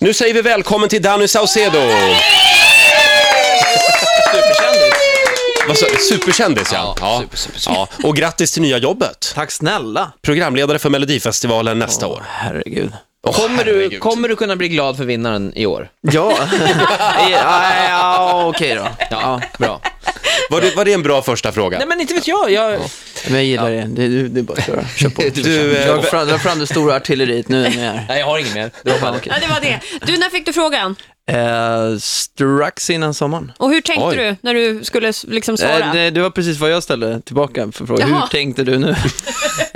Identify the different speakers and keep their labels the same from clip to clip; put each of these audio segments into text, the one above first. Speaker 1: Nu säger vi välkommen till Danny Saucedo.
Speaker 2: Superkändis.
Speaker 1: Vad sa- Superkändis, ja.
Speaker 2: Ja,
Speaker 1: ja.
Speaker 2: super, super, super.
Speaker 1: ja. Och grattis till nya jobbet.
Speaker 2: Tack snälla.
Speaker 1: Programledare för Melodifestivalen nästa år.
Speaker 2: Herregud.
Speaker 1: Åh,
Speaker 2: kommer, du,
Speaker 1: herregud.
Speaker 2: kommer du kunna bli glad för vinnaren i år? Ja. ja, ja okej då. Ja, bra.
Speaker 1: Var det, var det en bra första fråga?
Speaker 2: Nej, men inte vet jag. jag...
Speaker 3: Men jag gillar det. Det, det, det är bara att köra. Kör på.
Speaker 1: Du, eh,
Speaker 3: Dra fram, dra fram det stora artilleriet nu när jag är
Speaker 2: Nej, jag har inget mer. Det var bara det.
Speaker 4: Ja, det var det. Du, när fick du frågan?
Speaker 3: här. Eh, strax innan sommaren.
Speaker 4: Och hur tänkte
Speaker 1: Oj.
Speaker 4: du när du skulle s- liksom
Speaker 3: Eh,
Speaker 4: svara?
Speaker 3: det, det var precis vad jag ställde tillbaka för frågan.
Speaker 4: Jaha.
Speaker 3: Hur tänkte du nu?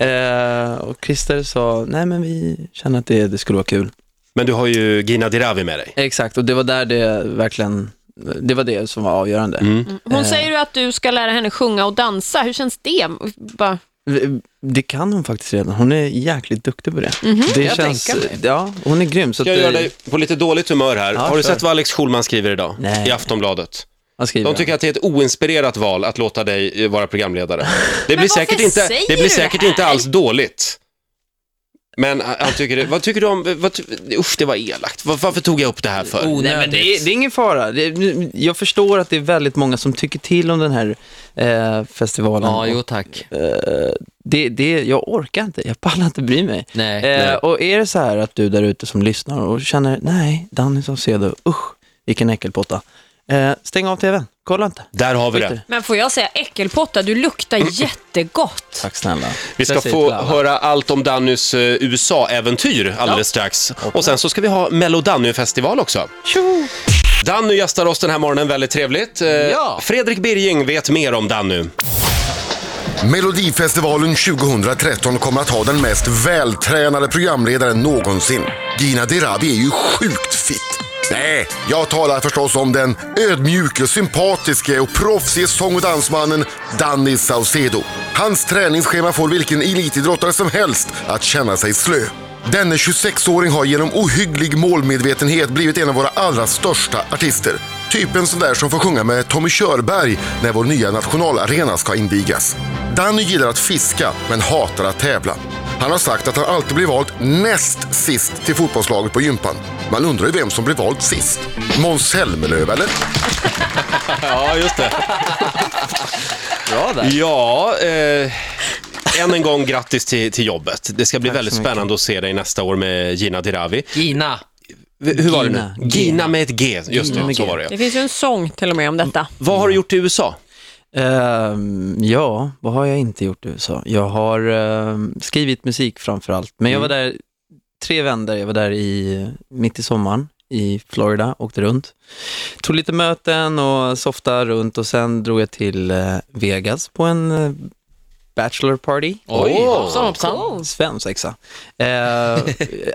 Speaker 3: eh, och Christer sa, nej men vi känner att det, det skulle vara kul.
Speaker 1: Men du har ju Gina Dirawi med dig.
Speaker 3: Exakt, och det var där det verkligen, det var det som var avgörande.
Speaker 1: Mm.
Speaker 4: Hon säger ju att du ska lära henne sjunga och dansa. Hur känns det? Bara,
Speaker 3: V- Det kan hon faktiskt redan. Hon är jäkligt duktig på det. Det
Speaker 2: Jag tänker mig.
Speaker 3: ja, hon är grym. Så
Speaker 1: Ska jag
Speaker 3: att,
Speaker 1: göra
Speaker 3: eh,
Speaker 1: dig på lite dåligt humör här?
Speaker 3: Ja,
Speaker 1: Har du
Speaker 3: kör.
Speaker 1: sett vad Alex Schulman skriver idag?
Speaker 3: Nej.
Speaker 1: I Aftonbladet.
Speaker 3: han skriver.
Speaker 1: De tycker att det är ett oinspirerat val att låta dig eh, vara programledare. Det blir
Speaker 4: varför
Speaker 1: säkert, inte,
Speaker 4: säger
Speaker 1: det blir
Speaker 4: du
Speaker 1: säkert
Speaker 4: det här?
Speaker 1: inte alls dåligt. Men han han tycker det, vad tycker du om, vad, ty- usch det var elakt, Var- varför tog jag upp det här för?
Speaker 3: Nej, men
Speaker 2: Onödigt.
Speaker 3: det, är, det är ingen fara. Det, nu- jag förstår att det är väldigt många som tycker till om den här eh, festivalen.
Speaker 2: Ja, jo
Speaker 3: Och
Speaker 2: tack.
Speaker 3: det, det, jag orkar inte, jag pallar inte bry mig.
Speaker 2: Nej.
Speaker 3: Eh, och är det så här att du där ute som lyssnar och känner, nej, Danny Saucedo, usch, vilken äckelpotta. Eh, stäng av tvn, kolla inte.
Speaker 1: Där har vi
Speaker 3: Skit i
Speaker 1: det.
Speaker 3: det.
Speaker 4: men får jag säga äckelpotta? Du luktar jättegott.
Speaker 3: Tack snälla.
Speaker 1: Vi ska
Speaker 3: Precis,
Speaker 1: få
Speaker 3: Lala.
Speaker 1: höra allt om Dannys eh, USA-äventyr alldeles strax. Och sen så ska vi ha Mellodanny-festival också. Danny gästar oss den här morgonen, väldigt trevligt. Eh,
Speaker 2: Ja.
Speaker 1: Fredrik Birging vet mer om Danny.
Speaker 5: Melodifestivalen 2013 kommer att ha den mest vältränade programledaren någonsin. Gina Dirawi är ju sjukt fit. Nej, jag talar förstås om den ödmjuke, sympatiske och proffsige sång och dansmannen Danny Saucedo. Hans träningsschema får vilken elitidrottare som helst att känna sig slö. Denne 26-åring har genom ohygglig målmedvetenhet blivit en av våra allra största artister. Typen sån där som får sjunga med Tommy Körberg när vår nya nationalarena ska invigas. Danny gillar att fiska, men hatar att tävla. Han har sagt att han alltid blir vald näst sist till fotbollslaget på gympan. Man undrar ju vem som blir vald sist. Måns Zelmerlöw, eller?
Speaker 1: Ja, just det.
Speaker 2: Bra där.
Speaker 1: Ja, eh, än en gång grattis till, till jobbet. Det ska bli väldigt spännande att se dig nästa år med Gina Dirawi.
Speaker 2: Gina.
Speaker 1: V- Hur var det nu?
Speaker 3: Gina.
Speaker 1: Gina, med ett G, just det,
Speaker 3: med
Speaker 1: så
Speaker 3: G.
Speaker 1: var det.
Speaker 4: Det finns ju en sång till och med om detta.
Speaker 1: Vad har du gjort i USA?
Speaker 3: Ehm, ja, vad har jag inte gjort i USA? Jag har ehm, skrivit musik framför allt, men
Speaker 4: Mm.
Speaker 3: jag var där tre vändor. Jag var där i, mitt i sommaren i Florida, åkte runt. Tog lite möten och softade runt och sen drog jag till eh, Vegas på en eh, bachelor party.
Speaker 4: Oh.
Speaker 2: Oj,
Speaker 1: Åh.
Speaker 2: hoppsan hoppsan.
Speaker 3: Svensexa. Eh,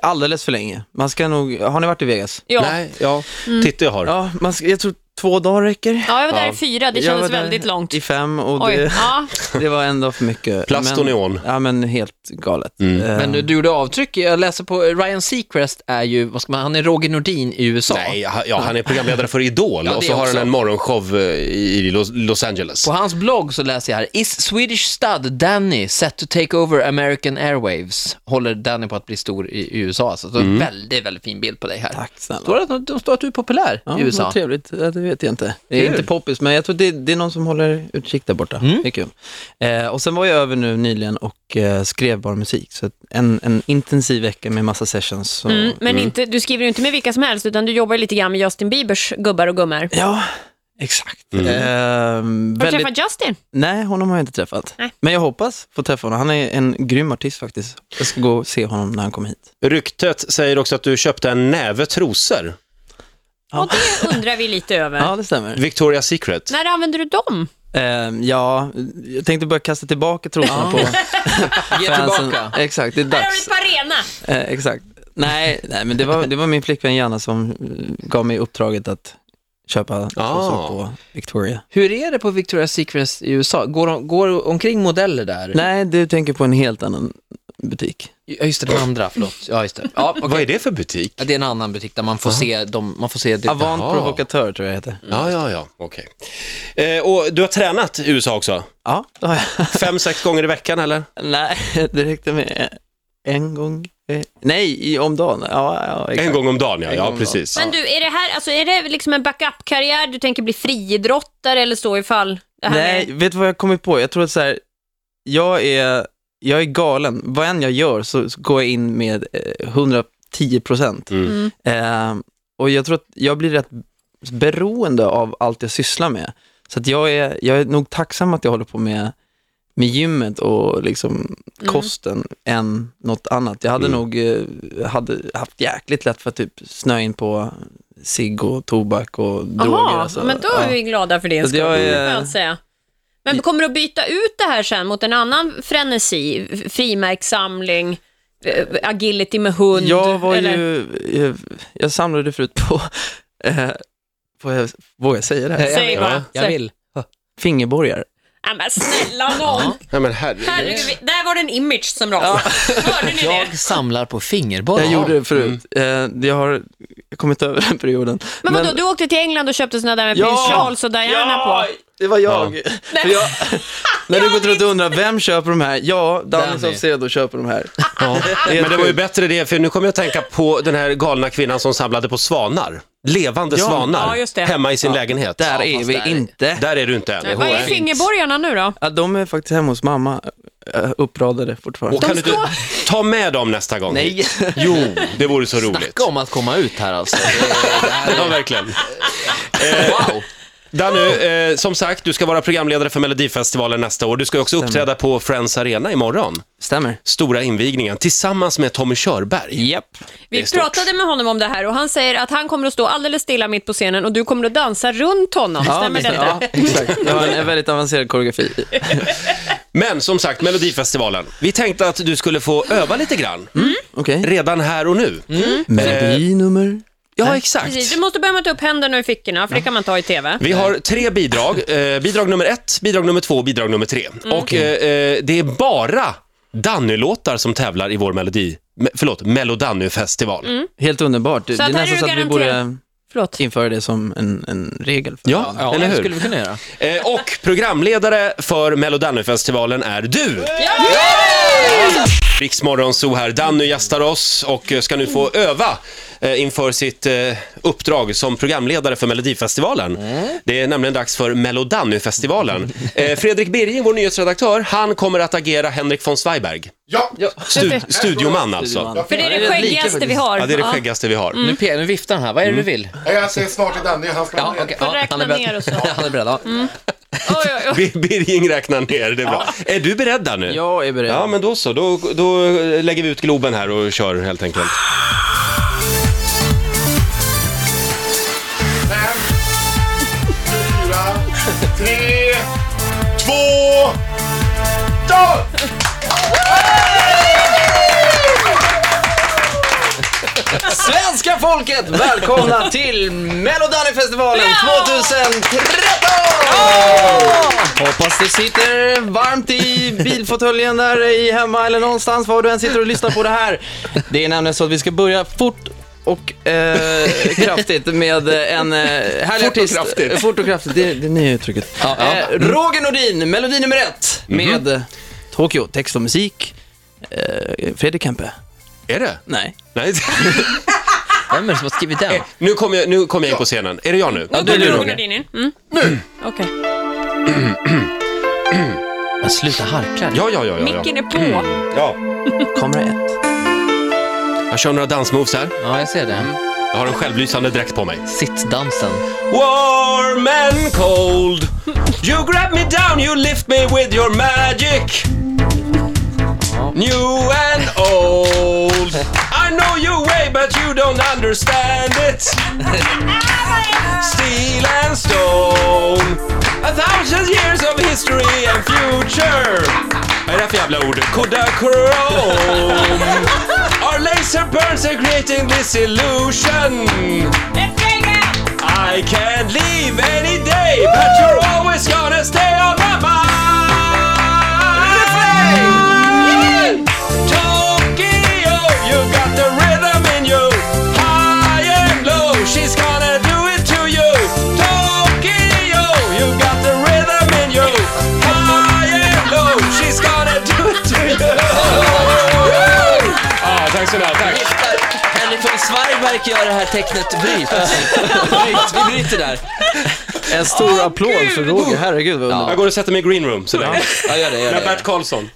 Speaker 3: alldeles för länge. Man ska nog, har ni varit i Vegas?
Speaker 4: Ja,
Speaker 1: Nej, ja. Titta jag har.
Speaker 3: Ja, man ska, jag tror två dagar räcker.
Speaker 4: ja jag var där i fyra. Det
Speaker 3: Jag var
Speaker 4: kändes
Speaker 3: där
Speaker 4: väldigt långt.
Speaker 3: I fem och
Speaker 4: Oj,
Speaker 3: det...
Speaker 4: ja.
Speaker 3: Det var ändå för mycket.
Speaker 1: Plast och
Speaker 3: Men-
Speaker 1: neon.
Speaker 3: Ja, men helt galet. Eh,
Speaker 2: Men du, du gjorde avtryck. Jag läser på, Ryan Seacrest är ju, vad ska man, han är Roger Nordin i USA.
Speaker 1: Nej, ha- ja, han är programledare för Idol
Speaker 2: Ja, det
Speaker 1: och så har
Speaker 2: också.
Speaker 1: han en morgonshow eh, i Los- Los Angeles.
Speaker 2: På hans blogg så läser jag här, Is Swedish stud Danny set to take over American Airwaves? Håller Danny på att bli stor i USA alltså. Så väldigt, väldigt fin bild på dig här.
Speaker 3: Tack snälla.
Speaker 2: Står det att, de står att du är populär
Speaker 3: ja,
Speaker 2: i USA.
Speaker 3: Vad trevligt, ja, det vet jag inte. Det är
Speaker 2: Kul.
Speaker 3: inte poppis, men jag tror det, det är någon som håller utkik där borta. Det är kul. Eh, och sen var jag över nu nyligen och eh, skrev bara musik. Så att en, en intensiv vecka med massa sessions. Så...
Speaker 4: Mm, men inte, du skriver ju inte med vilka som helst, utan du jobbar ju lite grann med Justin Biebers gubbar och gummor. Har
Speaker 3: Ja, exakt. Eh,
Speaker 4: du
Speaker 3: väldigt...
Speaker 4: träffat Justin?
Speaker 3: Nej, honom har jag inte träffat.
Speaker 4: Nej.
Speaker 3: Men jag hoppas få träffa honom. Han är en grym artist faktiskt. Jag ska gå och se honom när han kommer hit.
Speaker 1: Ryktet säger också att du köpte en näve trosor,
Speaker 3: Ja.
Speaker 4: Och det undrar vi lite över.
Speaker 3: Ja, det stämmer.
Speaker 1: Victoria's Secret.
Speaker 4: När använder du dem?
Speaker 3: Ehm, ja, jag tänkte börja kasta tillbaka trosorna
Speaker 2: Ja.
Speaker 3: på
Speaker 2: Ge
Speaker 3: fansen.
Speaker 2: tillbaka.
Speaker 3: Exakt, det är
Speaker 4: Här har du
Speaker 3: dags.
Speaker 4: ett par rena.
Speaker 3: Eh, exakt. Nej, nej, men det var, det var min flickvän Janna som eh, gav mig uppdraget att köpa trosor
Speaker 1: Ah.
Speaker 3: på Victoria.
Speaker 2: Hur är det på Victoria's Secret i USA? Går, de- går omkring modeller där?
Speaker 3: Nej, du tänker på en helt annan butik.
Speaker 2: Ja, just det, den andra, förlåt. Ja, just det. Ja,
Speaker 1: Vad
Speaker 2: okay.
Speaker 1: är det för butik?
Speaker 2: det? är en annan butik där man får se, de, man får se det.
Speaker 3: Avant
Speaker 1: Jaha.
Speaker 3: Provokatör tror jag det heter.
Speaker 1: Ja, ja, ja, okej. Eh, och du har tränat i USA också?
Speaker 3: Ja, det har jag.
Speaker 1: Fem, sex gånger i veckan eller?
Speaker 3: Nej, det räckte med en gång Eh, Nej, i- om dagen. Ja, ja, exakt.
Speaker 1: En gång om dagen, ja.
Speaker 3: En
Speaker 1: ja
Speaker 3: gång om
Speaker 1: precis.
Speaker 4: Men du, är det här alltså, är det liksom en backup-karriär? Du tänker bli friidrottare eller så ifall det här
Speaker 3: Nej,
Speaker 4: Med...
Speaker 3: vet du vad jag kommit på? Jag tror att så här, jag är, jag är galen. Vad än jag gör så, så går jag in med eh, 110 procent.
Speaker 1: Mm.
Speaker 4: Mm.
Speaker 3: Eh, och jag tror att jag blir rätt beroende av allt jag sysslar med. Så att jag, är, jag är nog tacksam att jag håller på med, med gymmet och liksom
Speaker 4: Mm.
Speaker 3: kosten än något annat. Jag hade
Speaker 1: Mm.
Speaker 3: nog eh, hade haft jäkligt lätt för att typ snöa in på cigg och tobak och droger.
Speaker 4: Jaha,
Speaker 3: alltså.
Speaker 4: men då
Speaker 3: Ja.
Speaker 4: är vi glada för din
Speaker 3: Så
Speaker 4: skull,
Speaker 3: jag är-
Speaker 4: får jag säga. Men kommer du att byta ut det här sen mot en annan frenesi? F- Frimärkssamling, eh, agility med hund?
Speaker 3: Jag var
Speaker 4: eller-
Speaker 3: ju, jag, jag samlade förut på, eh, får jag, vågar jag säga det här?
Speaker 4: Säg
Speaker 1: Ja.
Speaker 4: bara.
Speaker 2: Jag
Speaker 4: Säg.
Speaker 2: vill.
Speaker 3: Fingerborgar.
Speaker 4: Ja, men snälla nån!
Speaker 1: Nej, men herregud.
Speaker 4: Herregud, vi- där var det en image som rasade. Hörde ni det?
Speaker 2: Jag samlar på fingerbollar.
Speaker 3: Jag gjorde det förut. Eh, jag har kommit över den perioden.
Speaker 4: Men vadå, du åkte till England och köpte såna där med
Speaker 3: Ja!
Speaker 4: prins Charles och Diana
Speaker 3: ja,
Speaker 4: på?
Speaker 3: det var jag. För jag när du gått runt och undrar, vem köper de här? Ja, Danny
Speaker 2: Danny.
Speaker 3: Saucedo köper de här.
Speaker 2: Ja.
Speaker 3: Helt
Speaker 1: Men det var ju
Speaker 3: sjukt.
Speaker 1: bättre det, för nu kommer jag att tänka på den här galna kvinnan som samlade på svanar. Levande
Speaker 3: Ja.
Speaker 1: svanar.
Speaker 4: Ja, just det.
Speaker 1: Hemma i sin lägenhet.
Speaker 3: Där
Speaker 2: Ja,
Speaker 3: är
Speaker 2: fast
Speaker 3: vi
Speaker 2: där är-
Speaker 3: inte.
Speaker 1: Där är du inte än.
Speaker 4: Vad är
Speaker 1: Nej.
Speaker 4: fingerborgarna nu då?
Speaker 3: Ja, de är faktiskt hemma hos mamma, eh, uppradade
Speaker 1: Och
Speaker 3: fortfarande.
Speaker 1: kan du inte ta med dem nästa gång?
Speaker 3: Nej.
Speaker 1: Jo, det vore så roligt.
Speaker 2: Snacka om att komma ut här alltså. Det här
Speaker 1: Ja,
Speaker 2: är-
Speaker 1: verkligen.
Speaker 2: Wow.
Speaker 1: Danny, eh, som sagt, du ska vara programledare för Melodifestivalen nästa år. Du ska också uppträda på Friends Arena imorgon.
Speaker 3: Stämmer.
Speaker 1: Stora invigningen, tillsammans med Tommy Körberg.
Speaker 3: Japp.
Speaker 1: Det
Speaker 4: Vi
Speaker 1: är stort.
Speaker 4: pratade med honom om det här och han säger att han kommer att stå alldeles stilla mitt på scenen och du kommer att dansa runt honom. Stämmer
Speaker 3: det-
Speaker 4: detta?
Speaker 3: Ja, exakt. Jag har en väldigt avancerad koreografi.
Speaker 1: Men som sagt, Melodifestivalen. Vi tänkte att du skulle få öva lite grann,
Speaker 2: Mm.
Speaker 3: Okej.
Speaker 1: redan här och nu.
Speaker 3: eh, Melodinummer.
Speaker 1: Ja, exakt.
Speaker 4: Precis, du måste börja med att ta upp händerna ur fickorna, för det kan man ta i TV.
Speaker 1: Vi har tre bidrag. Eh, bidrag nummer ett, bidrag nummer två, bidrag nummer tre. Och eh, eh, det är bara Danny-låtar som tävlar i vår melodi, me, förlåt, Melodanny-festival.
Speaker 3: Helt underbart. Det
Speaker 4: Så att
Speaker 3: är
Speaker 4: här
Speaker 3: nästan
Speaker 4: är
Speaker 3: så
Speaker 4: du
Speaker 3: att vi
Speaker 4: garanterad.
Speaker 3: borde
Speaker 4: Förlåt.
Speaker 3: införa det som en, en regel. För
Speaker 1: Ja,
Speaker 2: Ja,
Speaker 1: eller
Speaker 2: det
Speaker 1: hur?
Speaker 2: skulle vi kunna göra.
Speaker 1: Eh, och programledare för Melodanny-festivalen är du! Riksmorgon så här, Danny gästar oss och eh, ska nu få öva eh, inför sitt eh, uppdrag som programledare för Melodifestivalen. Det är nämligen dags för Melodanny-festivalen. Eh, Fredrik Birging, vår nyhetsredaktör, han kommer att agera Henrik von Zweigbergg.
Speaker 5: Ja,
Speaker 1: Stu- studioman alltså.
Speaker 4: För det är
Speaker 3: Ja, det är
Speaker 4: det
Speaker 3: lika
Speaker 4: skäggigaste vi
Speaker 3: faktiskt.
Speaker 4: har.
Speaker 1: Ja, det är det skäggigaste vi har.
Speaker 2: Nu, pe- nu viftar han här, vad är det
Speaker 1: Mm.
Speaker 2: du vill?
Speaker 5: Eh, jag säger snart till Danny, han ska
Speaker 2: Ja, okej.
Speaker 4: Får
Speaker 2: ja,
Speaker 4: räkna
Speaker 2: han är beredd.
Speaker 4: ner och så. Mm.
Speaker 2: Han är beredd, ja.
Speaker 4: Oj, oj, oj.
Speaker 1: Bir- Birging räknar ner, det är bra. Är du beredd där nu?
Speaker 3: Jag är beredd.
Speaker 1: Ja, men då så. Då, då lägger vi ut Globen här och kör helt enkelt.
Speaker 5: Fem, fyra, tre, två, då!
Speaker 3: Svenska folket, välkomna till Melodifestivalen 2013! Hoppas det sitter varmt i bilfåtöljen där i hemma eller någonstans, var du än sitter och lyssnar på det här. Det är nämligen så att vi ska börja fort och eh, kraftigt med en eh, härlig
Speaker 1: Fort och
Speaker 3: artist.
Speaker 1: kraftigt.
Speaker 3: Eh, Fort och kraftigt, det, det är nya uttrycket.
Speaker 2: Ja, ja.
Speaker 3: Eh, Roger Nordin, melodi nummer ett med eh, Tokyo, text och musik. Eh, Fredrik Kempe?
Speaker 1: Är det?
Speaker 3: Nej.
Speaker 1: Nej.
Speaker 2: Vem är det som har skrivit den?
Speaker 1: Nu kommer jag, nu kom jag in på scenen. Är det jag nu?
Speaker 4: Nu
Speaker 2: du,
Speaker 4: kommer
Speaker 2: Roger.
Speaker 4: Roger Dinin. Mm. Nu! Okej.
Speaker 1: Eh,
Speaker 2: Men sluta harkla.
Speaker 1: Ja, ja, ja. ja,
Speaker 4: Micken
Speaker 1: ja.
Speaker 4: är på.
Speaker 1: ja.
Speaker 3: Kamera ett.
Speaker 1: Jag kör några dansmoves här.
Speaker 2: Ja, jag ser det.
Speaker 1: Jag har en självlysande dräkt på mig.
Speaker 2: Sittdansen.
Speaker 1: Warm and cold You grab me down, you lift me with your magic New and old I know your way but you don't understand it Steel and stone A thousand years of history and future Vad är det här för jävla ord? Kodachrome Our laser burns are creating this illusion I can't leave any day, but you're always gonna stay on my mind. Tokyo, you got the rhythm in you. High and low, she's gonna do it to you. Tokyo, you got the rhythm in you. High and low, she's gonna do it to you. Ja, Ah, tack så ni
Speaker 2: Mark gör det här tecknet bryt. bryt. Vi bryter där.
Speaker 3: En stor applåd för Roger, herregud vad underbart.
Speaker 1: Jag går och sätter mig i green room sådär.
Speaker 2: Ja, gör det, gör
Speaker 1: Med
Speaker 2: det.
Speaker 1: Bert Karlsson.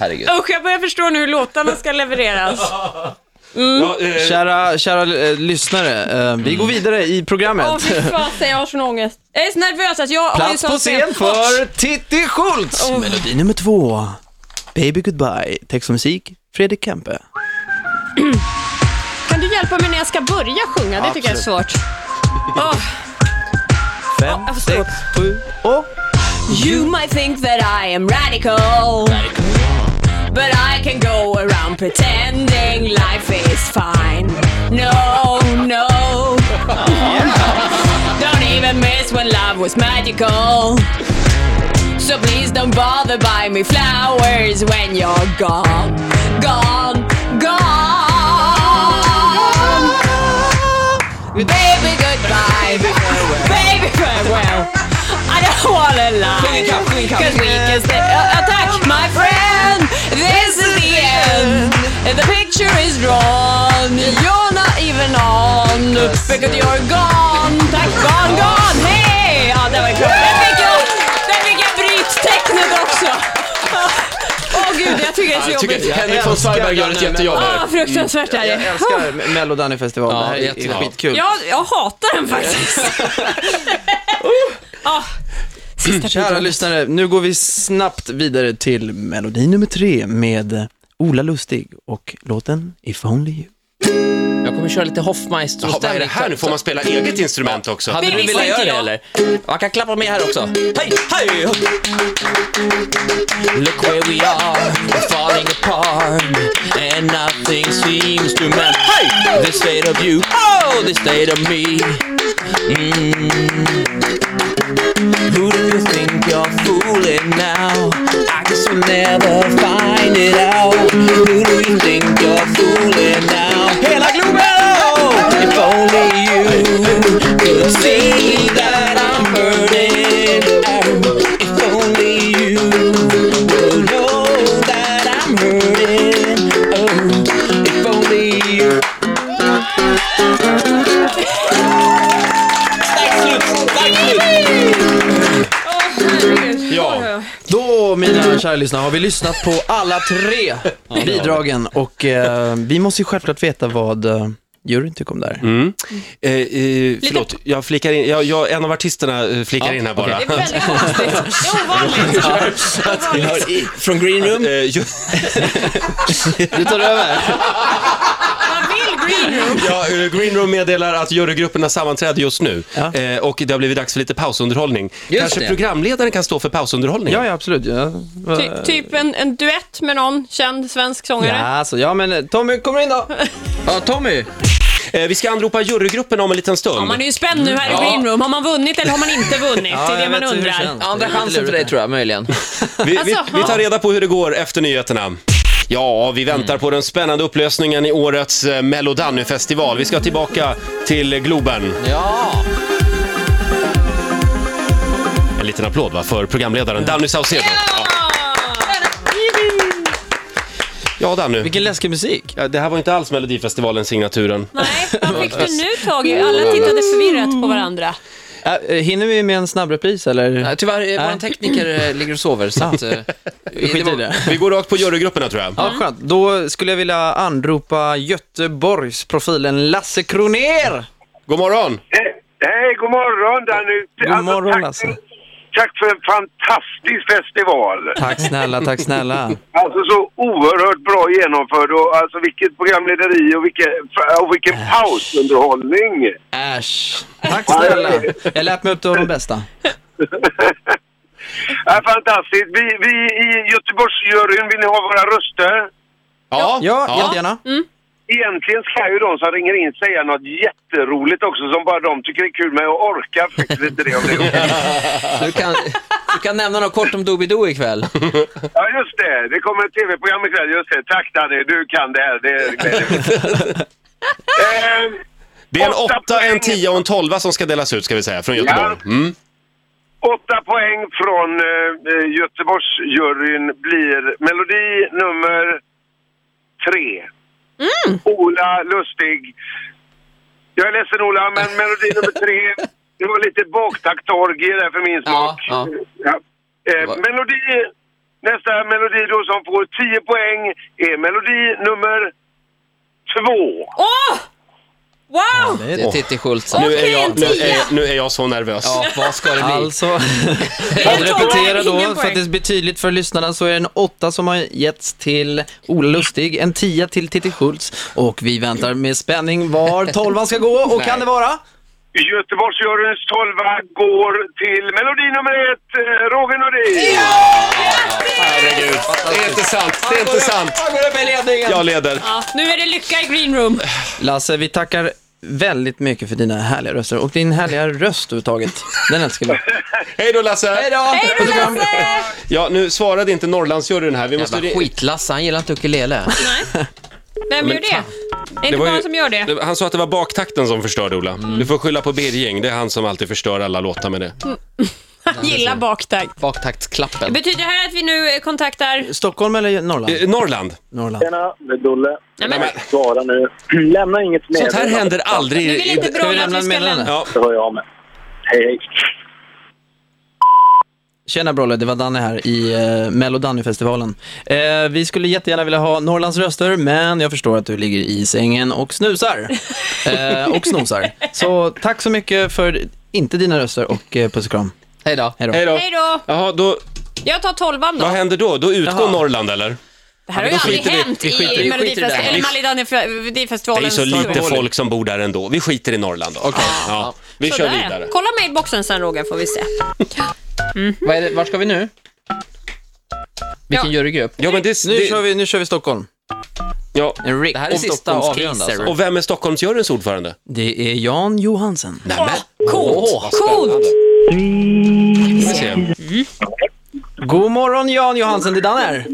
Speaker 2: Herregud.
Speaker 4: Usch, jag börjar förstå nu hur låtarna ska levereras.
Speaker 1: Ja, eh,
Speaker 3: Kära, kära eh, lyssnare, eh, vi går vidare i programmet.
Speaker 4: Åh, fy fasen, jag har sån ångest. Jag är så nervös att jag har ju
Speaker 3: Plats
Speaker 4: sån
Speaker 3: på scen för Titti Schultz! Melodi nummer två, Baby Goodbye, text och musik, Fredrik Kempe.
Speaker 4: Kan du hjälpa mig när jag ska börja sjunga? Det tycker jag är svårt. Åh.
Speaker 3: Fem,
Speaker 4: jag får stå
Speaker 3: sex, sju och...
Speaker 4: You might think that I am radical, but I can go around pretending life is fine. No, no. Don't even miss when love was magical. So please don't bother buying me flowers when you're gone, gone, gone. Baby, goodbye. Baby, farewell. I don't wanna lie. Cause we can stay. Uh, attack, my friend. This is the end. The picture is drawn. You're not even on. Because you're gone. Tack, gone, gone. Ah, Hej! Ja, där var klart. Där fick jag, där fick jag bryttecknet också. Åh gud, jag tycker det är så
Speaker 1: jag
Speaker 4: jobbigt.
Speaker 1: tycker Henrik
Speaker 3: älskar
Speaker 1: von Zweigbergk gör ett
Speaker 3: Danne, men-
Speaker 1: jättejobb
Speaker 4: Ah,
Speaker 1: här.
Speaker 4: fruktansvärt är
Speaker 3: Jag
Speaker 4: det.
Speaker 3: älskar Mello Danny-festival, det här är,
Speaker 2: jättebra.
Speaker 3: skitkul.
Speaker 4: Jag, jag hatar den faktiskt. Ah, sista
Speaker 3: Kära
Speaker 4: bidraget.
Speaker 3: lyssnare, nu går vi snabbt vidare till melodi nummer tre med Ola Lustig och låten If Only You.
Speaker 2: Jag kommer köra lite
Speaker 1: Ja, vad är det
Speaker 2: Hoffmeister-stämning.
Speaker 1: här nu? Får man spela eget instrument också?
Speaker 2: Hade
Speaker 4: Det
Speaker 2: du
Speaker 4: visste
Speaker 2: velat göra
Speaker 4: inte
Speaker 2: det
Speaker 4: jag.
Speaker 2: eller? Jag kan klappa med här också. Hej, hej! hopp. Look where we are, we're falling apart and nothing seems to matter. Hey! The state of you, oh, the state of me. Mm. Who do you think you're fooling now? I guess you'll never find it out. Who do you think you're fooling now? Hela globen! If only you could see that I'm burning. If only you would know that I'm hurting. Oh, if only you. Tack slut! Tack slut!
Speaker 1: Ja.
Speaker 3: Då, mina kära lyssnare, har vi lyssnat på alla tre bidragen och eh, vi måste ju självklart veta vad eh, juryn tycker om det här.
Speaker 1: Eh, eh, förlåt, jag flikar in, jag, jag, en av artisterna eh, flikar in här bara.
Speaker 4: Det är väldigt konstigt. Det är ovanligt.
Speaker 2: Från Green Room.
Speaker 1: Eh, ju-
Speaker 3: Du tar över.
Speaker 4: Man vill green room.
Speaker 1: Ja, eh, Green Room meddelar att jurygrupperna sammanträder just nu
Speaker 3: Ja.
Speaker 1: eh, och det har blivit dags för lite pausunderhållning.
Speaker 2: Just
Speaker 1: Kanske
Speaker 2: det.
Speaker 1: programledaren kan stå för pausunderhållning?
Speaker 3: Ja, ja absolut. Ja,
Speaker 4: Ty, typ en, en duett med någon känd svensk
Speaker 3: ja,
Speaker 4: sångare.
Speaker 3: alltså, ja men eh, Tommy, kommer in då.
Speaker 2: Ja, Tommy.
Speaker 1: Eh, vi ska anropa jurygrupperna om en liten stund.
Speaker 4: Ja, man är ju spänd nu här i green room. Har man vunnit eller har man inte vunnit? Det är det man undrar.
Speaker 2: Andra chansen för dig tror jag, möjligen.
Speaker 1: Vi, vi,
Speaker 4: Alltså,
Speaker 1: vi
Speaker 4: ja.
Speaker 1: tar reda på hur det går efter nyheterna. Ja, vi väntar på den spännande upplösningen i årets eh, Mellodanny-festival. Vi ska tillbaka till Globen.
Speaker 2: Ja.
Speaker 1: En liten applåd va, för programledaren Danny Saucedo. Ja, ja Danny.
Speaker 3: Vilken läskig musik.
Speaker 1: Ja, det här var inte alls Melodifestivalen-signaturen.
Speaker 4: Nej, vad fick du nu tag i? Alla tittade förvirrat på varandra.
Speaker 3: Äh, eh, hinner vi med en snabbrepris eller?
Speaker 2: Nej, Tyvärr, eh, vår tekniker eh, ligger och sover, så att... eh,
Speaker 3: Vi skiter i
Speaker 2: var-
Speaker 3: det.
Speaker 1: Vi går rakt på jurygrupperna tror jag.
Speaker 3: Ja, skönt. Då skulle jag vilja anropa Göteborgsprofilen Lasse Kroner.
Speaker 1: God morgon!
Speaker 6: Eh, Hej, god morgon Danny! Alltså,
Speaker 3: God morgon, alltså. Lasse.
Speaker 6: Tack, tack för en fantastisk festival!
Speaker 3: Tack snälla, tack snälla.
Speaker 6: Alltså så oerhört bra genomförd och alltså vilket programlederi och vilken, och vilken pausunderhållning!
Speaker 3: Äsch. Tack snälla. Jag lät mig upp till de bästa.
Speaker 6: Ja, fantastiskt! Vi, vi i Göteborgsjuryn, vill ni ha våra röster?
Speaker 1: Ja,
Speaker 3: Ja, jättegärna.
Speaker 6: Egentligen ska ju de som ringer in säga något jätteroligt också som bara de tycker är kul men jag orkar faktiskt inte det om det.
Speaker 2: Du kan, du kan nämna något kort om Doobidoo ikväll.
Speaker 6: Ja just det, det kommer ett tv-program ikväll. Just det, tack Danny, du kan det här. Det gläder mig. Ehm,
Speaker 1: Det är en
Speaker 6: Åtta
Speaker 1: åtta, en
Speaker 6: poäng.
Speaker 1: tia och en tolva som ska delas ut ska vi säga, från Göteborg.
Speaker 6: Ja.
Speaker 1: Mm.
Speaker 6: Åtta poäng från eh, eh, Göteborgsjuryn blir melodi nummer tre.
Speaker 2: Mm.
Speaker 6: Ola Lustig. Jag är ledsen Ola, men melodi nummer tre, det var lite baktaktorgi där för min smak.
Speaker 2: ja.
Speaker 6: Ja. Eh, melodi, nästa melodi då som får 10 poäng är melodi nummer två.
Speaker 4: Åh! Wow!
Speaker 2: Det är Titti Schultz.
Speaker 1: Nu är,
Speaker 4: Okej,
Speaker 1: jag,
Speaker 4: en
Speaker 1: nu,
Speaker 4: tia.
Speaker 1: är, nu är jag så nervös.
Speaker 2: Ja, vad ska det bli?
Speaker 3: Alltså,
Speaker 4: En
Speaker 3: att
Speaker 4: tvåa,
Speaker 3: repetera
Speaker 4: ingen
Speaker 3: då, så
Speaker 4: poäng.
Speaker 3: att det blir tydligt för lyssnarna, så är det en åtta som har getts till Ola Lustig, en tia till Titti Schultz och vi väntar med spänning var tolvan ska gå och kan det vara?
Speaker 6: Göteborgsjuryns tolva går till melodi nummer ett, eh, Roger Nordin.
Speaker 1: Herregud, det är inte sant. Det är inte sant.
Speaker 3: Han går upp i ledningen.
Speaker 1: Jag leder.
Speaker 4: Ja, nu är det lycka i green room.
Speaker 3: Lasse, vi tackar väldigt mycket för dina härliga röster och din härliga röst överhuvudtaget. Den älskar vi.
Speaker 1: Hej då Lasse! Hej då!
Speaker 4: Hej då Lasse!
Speaker 1: Ja, nu svarade inte Norrlandsjuryn här. Vi måste...
Speaker 2: Jävla skitlasse, han gillar inte ukulele.
Speaker 4: Vem gör det? Är det inte
Speaker 1: var
Speaker 4: någon
Speaker 1: ju-
Speaker 4: som gör det?
Speaker 1: Han sa att det var baktakten som förstörde Ola. Du får skylla på Birging, det är han som alltid förstör alla låtar med det.
Speaker 4: Han gillar baktakt.
Speaker 2: Baktaktsklappen.
Speaker 4: Betyder det här att vi nu eh, kontaktar...
Speaker 3: Stockholm eller Norrland?
Speaker 1: Eh, Norrland!
Speaker 3: Norrland.
Speaker 7: Tjena, det är Dulle.
Speaker 4: Nej, men,
Speaker 1: Nej,
Speaker 7: Svara nu. Lämna inget mer.
Speaker 1: Sånt här händer aldrig.
Speaker 4: nu är det inte
Speaker 1: i-
Speaker 4: bra
Speaker 3: vi
Speaker 4: att
Speaker 3: lämna
Speaker 4: vi ska
Speaker 3: meddelande?
Speaker 4: lämna...
Speaker 1: Ja,
Speaker 7: Det hör jag av mig. Hej, hej.
Speaker 3: Tjena Brolle, det var Danne här i eh, Mello Danny-festivalen. Eh, vi skulle jättegärna vilja ha Norrlands röster, men jag förstår att du ligger i sängen och snusar. Eh, och snosar. Så tack så mycket för, inte dina röster, och eh, puss och kram.
Speaker 2: Hej då. Eh,
Speaker 3: Hej då.
Speaker 1: hej då.
Speaker 4: Hej då!
Speaker 1: Jaha, då,
Speaker 4: Jag tar tolvan då.
Speaker 1: vad händer då? Då utgår
Speaker 3: Jaha.
Speaker 1: Norrland eller?
Speaker 4: Det här har
Speaker 3: men
Speaker 4: ju
Speaker 3: då
Speaker 4: aldrig
Speaker 3: skiter vi-
Speaker 4: hänt
Speaker 3: vi skiter- vi skiter
Speaker 4: i
Speaker 3: i det här.
Speaker 1: Det är
Speaker 4: Melodifestivalens
Speaker 1: så lite
Speaker 4: historia.
Speaker 1: folk som bor där ändå. Vi skiter i Norrland då. Ja, vi kör
Speaker 4: Sådär, ja.
Speaker 1: vidare.
Speaker 4: Kolla mailboxen sen Roger får vi se.
Speaker 2: Vad är det, var ska vi nu? Vilken jurygrupp?
Speaker 1: Ja, men det,
Speaker 3: Nu,
Speaker 1: det,
Speaker 3: kör vi, nu kör vi Stockholm.
Speaker 1: ja.
Speaker 3: En Rick.
Speaker 2: Det här är sista avgörande alltså.
Speaker 1: Och vem är Stockholmsjuryns ordförande?
Speaker 3: Det är Jan Johansen.
Speaker 1: Nej, men.
Speaker 4: Coolt!
Speaker 1: Åh, vad
Speaker 4: Coolt!
Speaker 1: spännande. Vi får se.
Speaker 3: God morgon Jan Johansen, det är Danne här.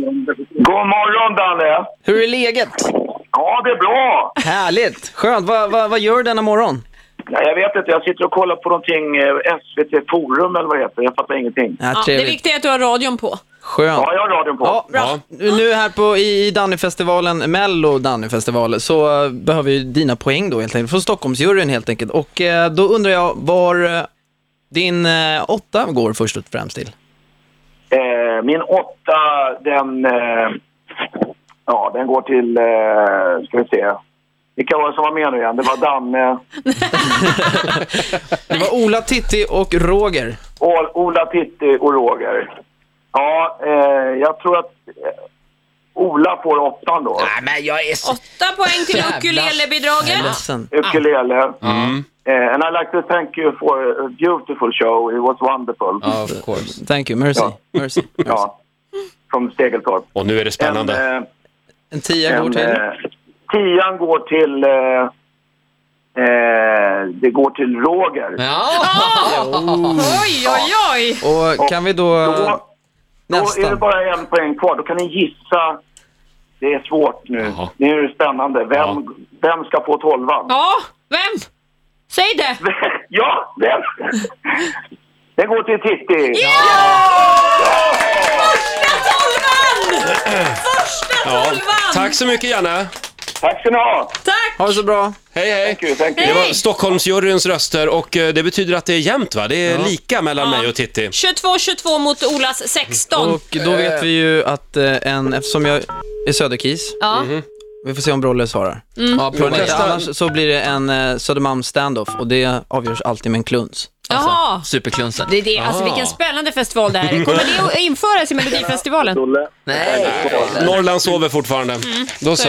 Speaker 6: God morgon Danne!
Speaker 3: Hur är läget?
Speaker 6: Ja, det är bra.
Speaker 3: Härligt, skönt. Vad vad- vad gör du denna morgon?
Speaker 7: Nej, jag vet inte. Jag sitter och kollar på någonting eh, SVT Forum eller vad det heter. Jag fattar ingenting.
Speaker 3: Ja,
Speaker 4: Ja, det
Speaker 3: trevligt.
Speaker 4: viktiga är att du har radion på.
Speaker 3: Skönt.
Speaker 7: Ja, jag har radion på.
Speaker 3: Ja,
Speaker 1: Ja.
Speaker 3: nu här på, i i Dannyfestivalen, Mello Dannyfestival, så eh, behöver vi dina poäng då helt enkelt, från Stockholmsjuryn helt enkelt. Och eh, då undrar jag var eh, din eh, åtta går först och främst till.
Speaker 7: Eh, min åtta, den... Eh, ja, den går till... Eh, ska vi se. Vilka var det som var med nu igen? Det var Danne,
Speaker 3: Det var Ola, Titti och Roger.
Speaker 7: Ol- Ola, Titti och Roger. Ja, eh, jag tror att eh, Ola får åttan då.
Speaker 4: Åtta poäng till
Speaker 2: Jävlar.
Speaker 4: ukulelebidraget.
Speaker 3: Ledsen.
Speaker 7: Ukulele.
Speaker 1: Mm.
Speaker 7: Eh, and I like to thank you for a beautiful show. It was wonderful.
Speaker 2: Ja, of course.
Speaker 3: Thank you, mercy.
Speaker 7: Ja.
Speaker 3: mercy. mercy.
Speaker 7: Ja. Från Stegeltorp.
Speaker 1: Och nu är det
Speaker 7: En,
Speaker 1: spännande.
Speaker 7: eh,
Speaker 3: En tia går
Speaker 7: en,
Speaker 3: till.
Speaker 7: eh, tian går till... Eh, eh, det går till Roger.
Speaker 2: Ja!
Speaker 4: Oj, oj, oj!
Speaker 3: Och kan vi då...
Speaker 7: Då, då är det
Speaker 3: Nästan.
Speaker 7: bara en poäng kvar. Då kan ni gissa. Det är svårt nu.
Speaker 1: Jaha.
Speaker 7: Nu är det spännande. Vem, vem ska få tolvan?
Speaker 4: Ja, vem? Säg det!
Speaker 7: ja, den! Den går till Titti.
Speaker 4: Ja! Första tolvan! Första
Speaker 1: Ja.
Speaker 4: tolvan!
Speaker 1: Tack så mycket Janne.
Speaker 7: Tack ska ni ha.
Speaker 4: Tack!
Speaker 3: Ha det så bra.
Speaker 1: Hej hej.
Speaker 7: Thank you, thank you.
Speaker 1: Det var
Speaker 4: Hej.
Speaker 1: Stockholmsjuryns röster och eh, det betyder att det är jämnt va? Det är lika mellan mig och Titti.
Speaker 4: 22-22 mot Olas 16.
Speaker 3: Och då vet vi ju att eh, en, eftersom jag är söderkis,
Speaker 4: Ja.
Speaker 3: vi får se om Brolle svarar.
Speaker 2: ja
Speaker 3: Tror ni
Speaker 2: prova
Speaker 3: inte?
Speaker 2: igen.
Speaker 3: Annars så blir det en eh, Södermalm standoff och det avgörs alltid med en kluns.
Speaker 4: Jaha.
Speaker 2: Superklunsen.
Speaker 4: Det är det. Alltså vilken spännande festival det här är. Kommer det att införas i Melodifestivalen?
Speaker 7: Dulle.
Speaker 2: Nej!
Speaker 1: Norrland sover fortfarande.
Speaker 4: Mm.
Speaker 1: Då så.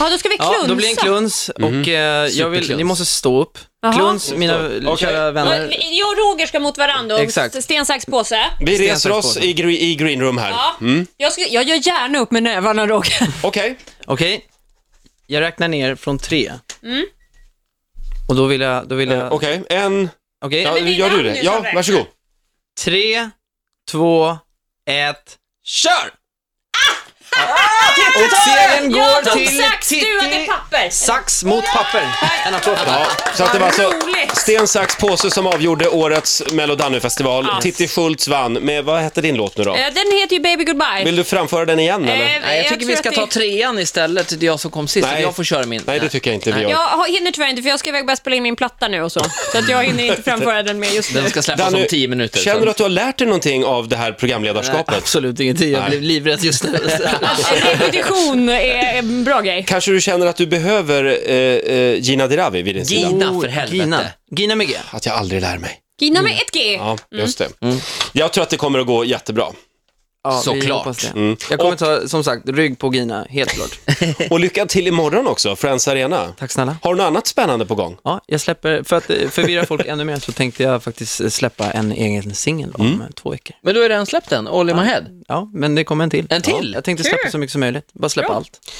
Speaker 4: Ja, då ska vi
Speaker 3: Ja,
Speaker 4: klunsa.
Speaker 3: då blir det en kluns och eh, jag vill,
Speaker 2: Superkluns.
Speaker 3: ni måste stå upp.
Speaker 4: Jaha.
Speaker 3: Kluns, mina kära vänner.
Speaker 4: Ja, Jag och Roger ska mot varandra och
Speaker 3: Exakt.
Speaker 4: sten, sax, påse.
Speaker 1: Vi
Speaker 3: Sten,
Speaker 1: reser
Speaker 3: sax,
Speaker 1: oss
Speaker 3: påse.
Speaker 1: i, gre- i green room här.
Speaker 4: Ja. Jag, ska, jag gör gärna upp med nävarna Roger.
Speaker 1: Okej.
Speaker 3: Okej, jag räknar ner från tre. Och då vill jag, då vill jag, okej.
Speaker 1: Okej, en... Ja,
Speaker 4: men det är
Speaker 1: gör du
Speaker 4: namn
Speaker 1: det?
Speaker 4: nu som
Speaker 1: Ja,
Speaker 4: räknas.
Speaker 1: varsågod.
Speaker 3: Tre, två, ett, kör! Och segern
Speaker 4: Jag
Speaker 3: går
Speaker 4: tog
Speaker 3: till
Speaker 4: sax, du hade
Speaker 3: Titti.
Speaker 4: papper.
Speaker 3: Sax mot papper. En applåd för
Speaker 1: Ja,
Speaker 3: det.
Speaker 1: så att det var alltså
Speaker 4: Vad roligt.
Speaker 1: sten, sax, påse som avgjorde årets Melodannifestival. Titti Schultz vann med, vad hette din låt nu då?
Speaker 4: Eh, Den heter ju Baby Goodbye.
Speaker 1: Vill du framföra den igen eller?
Speaker 4: Eh,
Speaker 2: Nej, jag, tycker
Speaker 4: tror
Speaker 2: vi ska
Speaker 4: att
Speaker 2: ta trean istället, det är jag som kom sist,
Speaker 1: Nej.
Speaker 2: så jag får köra min.
Speaker 1: Nej, det tycker jag inte vi
Speaker 4: Jag
Speaker 1: gör.
Speaker 4: har- hinner tyvärr inte för jag ska iväg och börja spela in min platta nu och så. Så att jag hinner inte framföra den med just nu.
Speaker 2: Den ska släppas om tio minuter.
Speaker 1: känner
Speaker 2: så-
Speaker 1: du att du har lärt dig någonting av det här
Speaker 3: Nej,
Speaker 1: programledarskapet?
Speaker 3: absolut ingenting. Jag
Speaker 1: Nej.
Speaker 3: blev livrädd just nu.
Speaker 2: Alltså,
Speaker 4: En repetition är en bra grej.
Speaker 1: Kanske du känner att du behöver eh, eh, Gina Dirawi vid din sida?
Speaker 2: Gina, för helvete.
Speaker 3: Oh, Gina. Gina med G.
Speaker 1: Att jag aldrig lär mig.
Speaker 4: Gina med ett G.
Speaker 1: Ja, just det. Jag tror att det kommer att gå jättebra.
Speaker 3: Ja, vi
Speaker 2: Såklart.
Speaker 3: hoppas det. Jag kommer ta, som sagt, rygg på Gina, helt klart.
Speaker 1: Och lycka till imorgon också, Friends Arena.
Speaker 3: Tack snälla.
Speaker 1: Har du något annat spännande på gång?
Speaker 3: Ja, jag släpper, för att eh, förvirra folk ännu mer så tänkte jag faktiskt eh, släppa en egen singel om eh, två veckor.
Speaker 2: Men du har redan släppt den, All in my head.
Speaker 3: Ja, men det kommer en till.
Speaker 2: En till?
Speaker 3: Ja, jag tänkte släppa så mycket som möjligt. Bara släppa allt.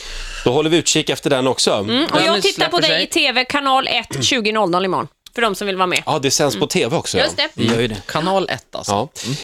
Speaker 1: Då håller vi utkik efter den också.
Speaker 4: Och jag
Speaker 2: Dennis
Speaker 4: tittar på
Speaker 2: släpper
Speaker 4: dig
Speaker 2: sig.
Speaker 4: i TV kanal 1 20.00 imorgon. För de som vill vara med.
Speaker 1: Ja, det sänds på TV också. ja.
Speaker 2: Mm.
Speaker 4: Just det.
Speaker 3: Vi gör ju det.
Speaker 2: Kanal 1 alltså.
Speaker 1: Ja.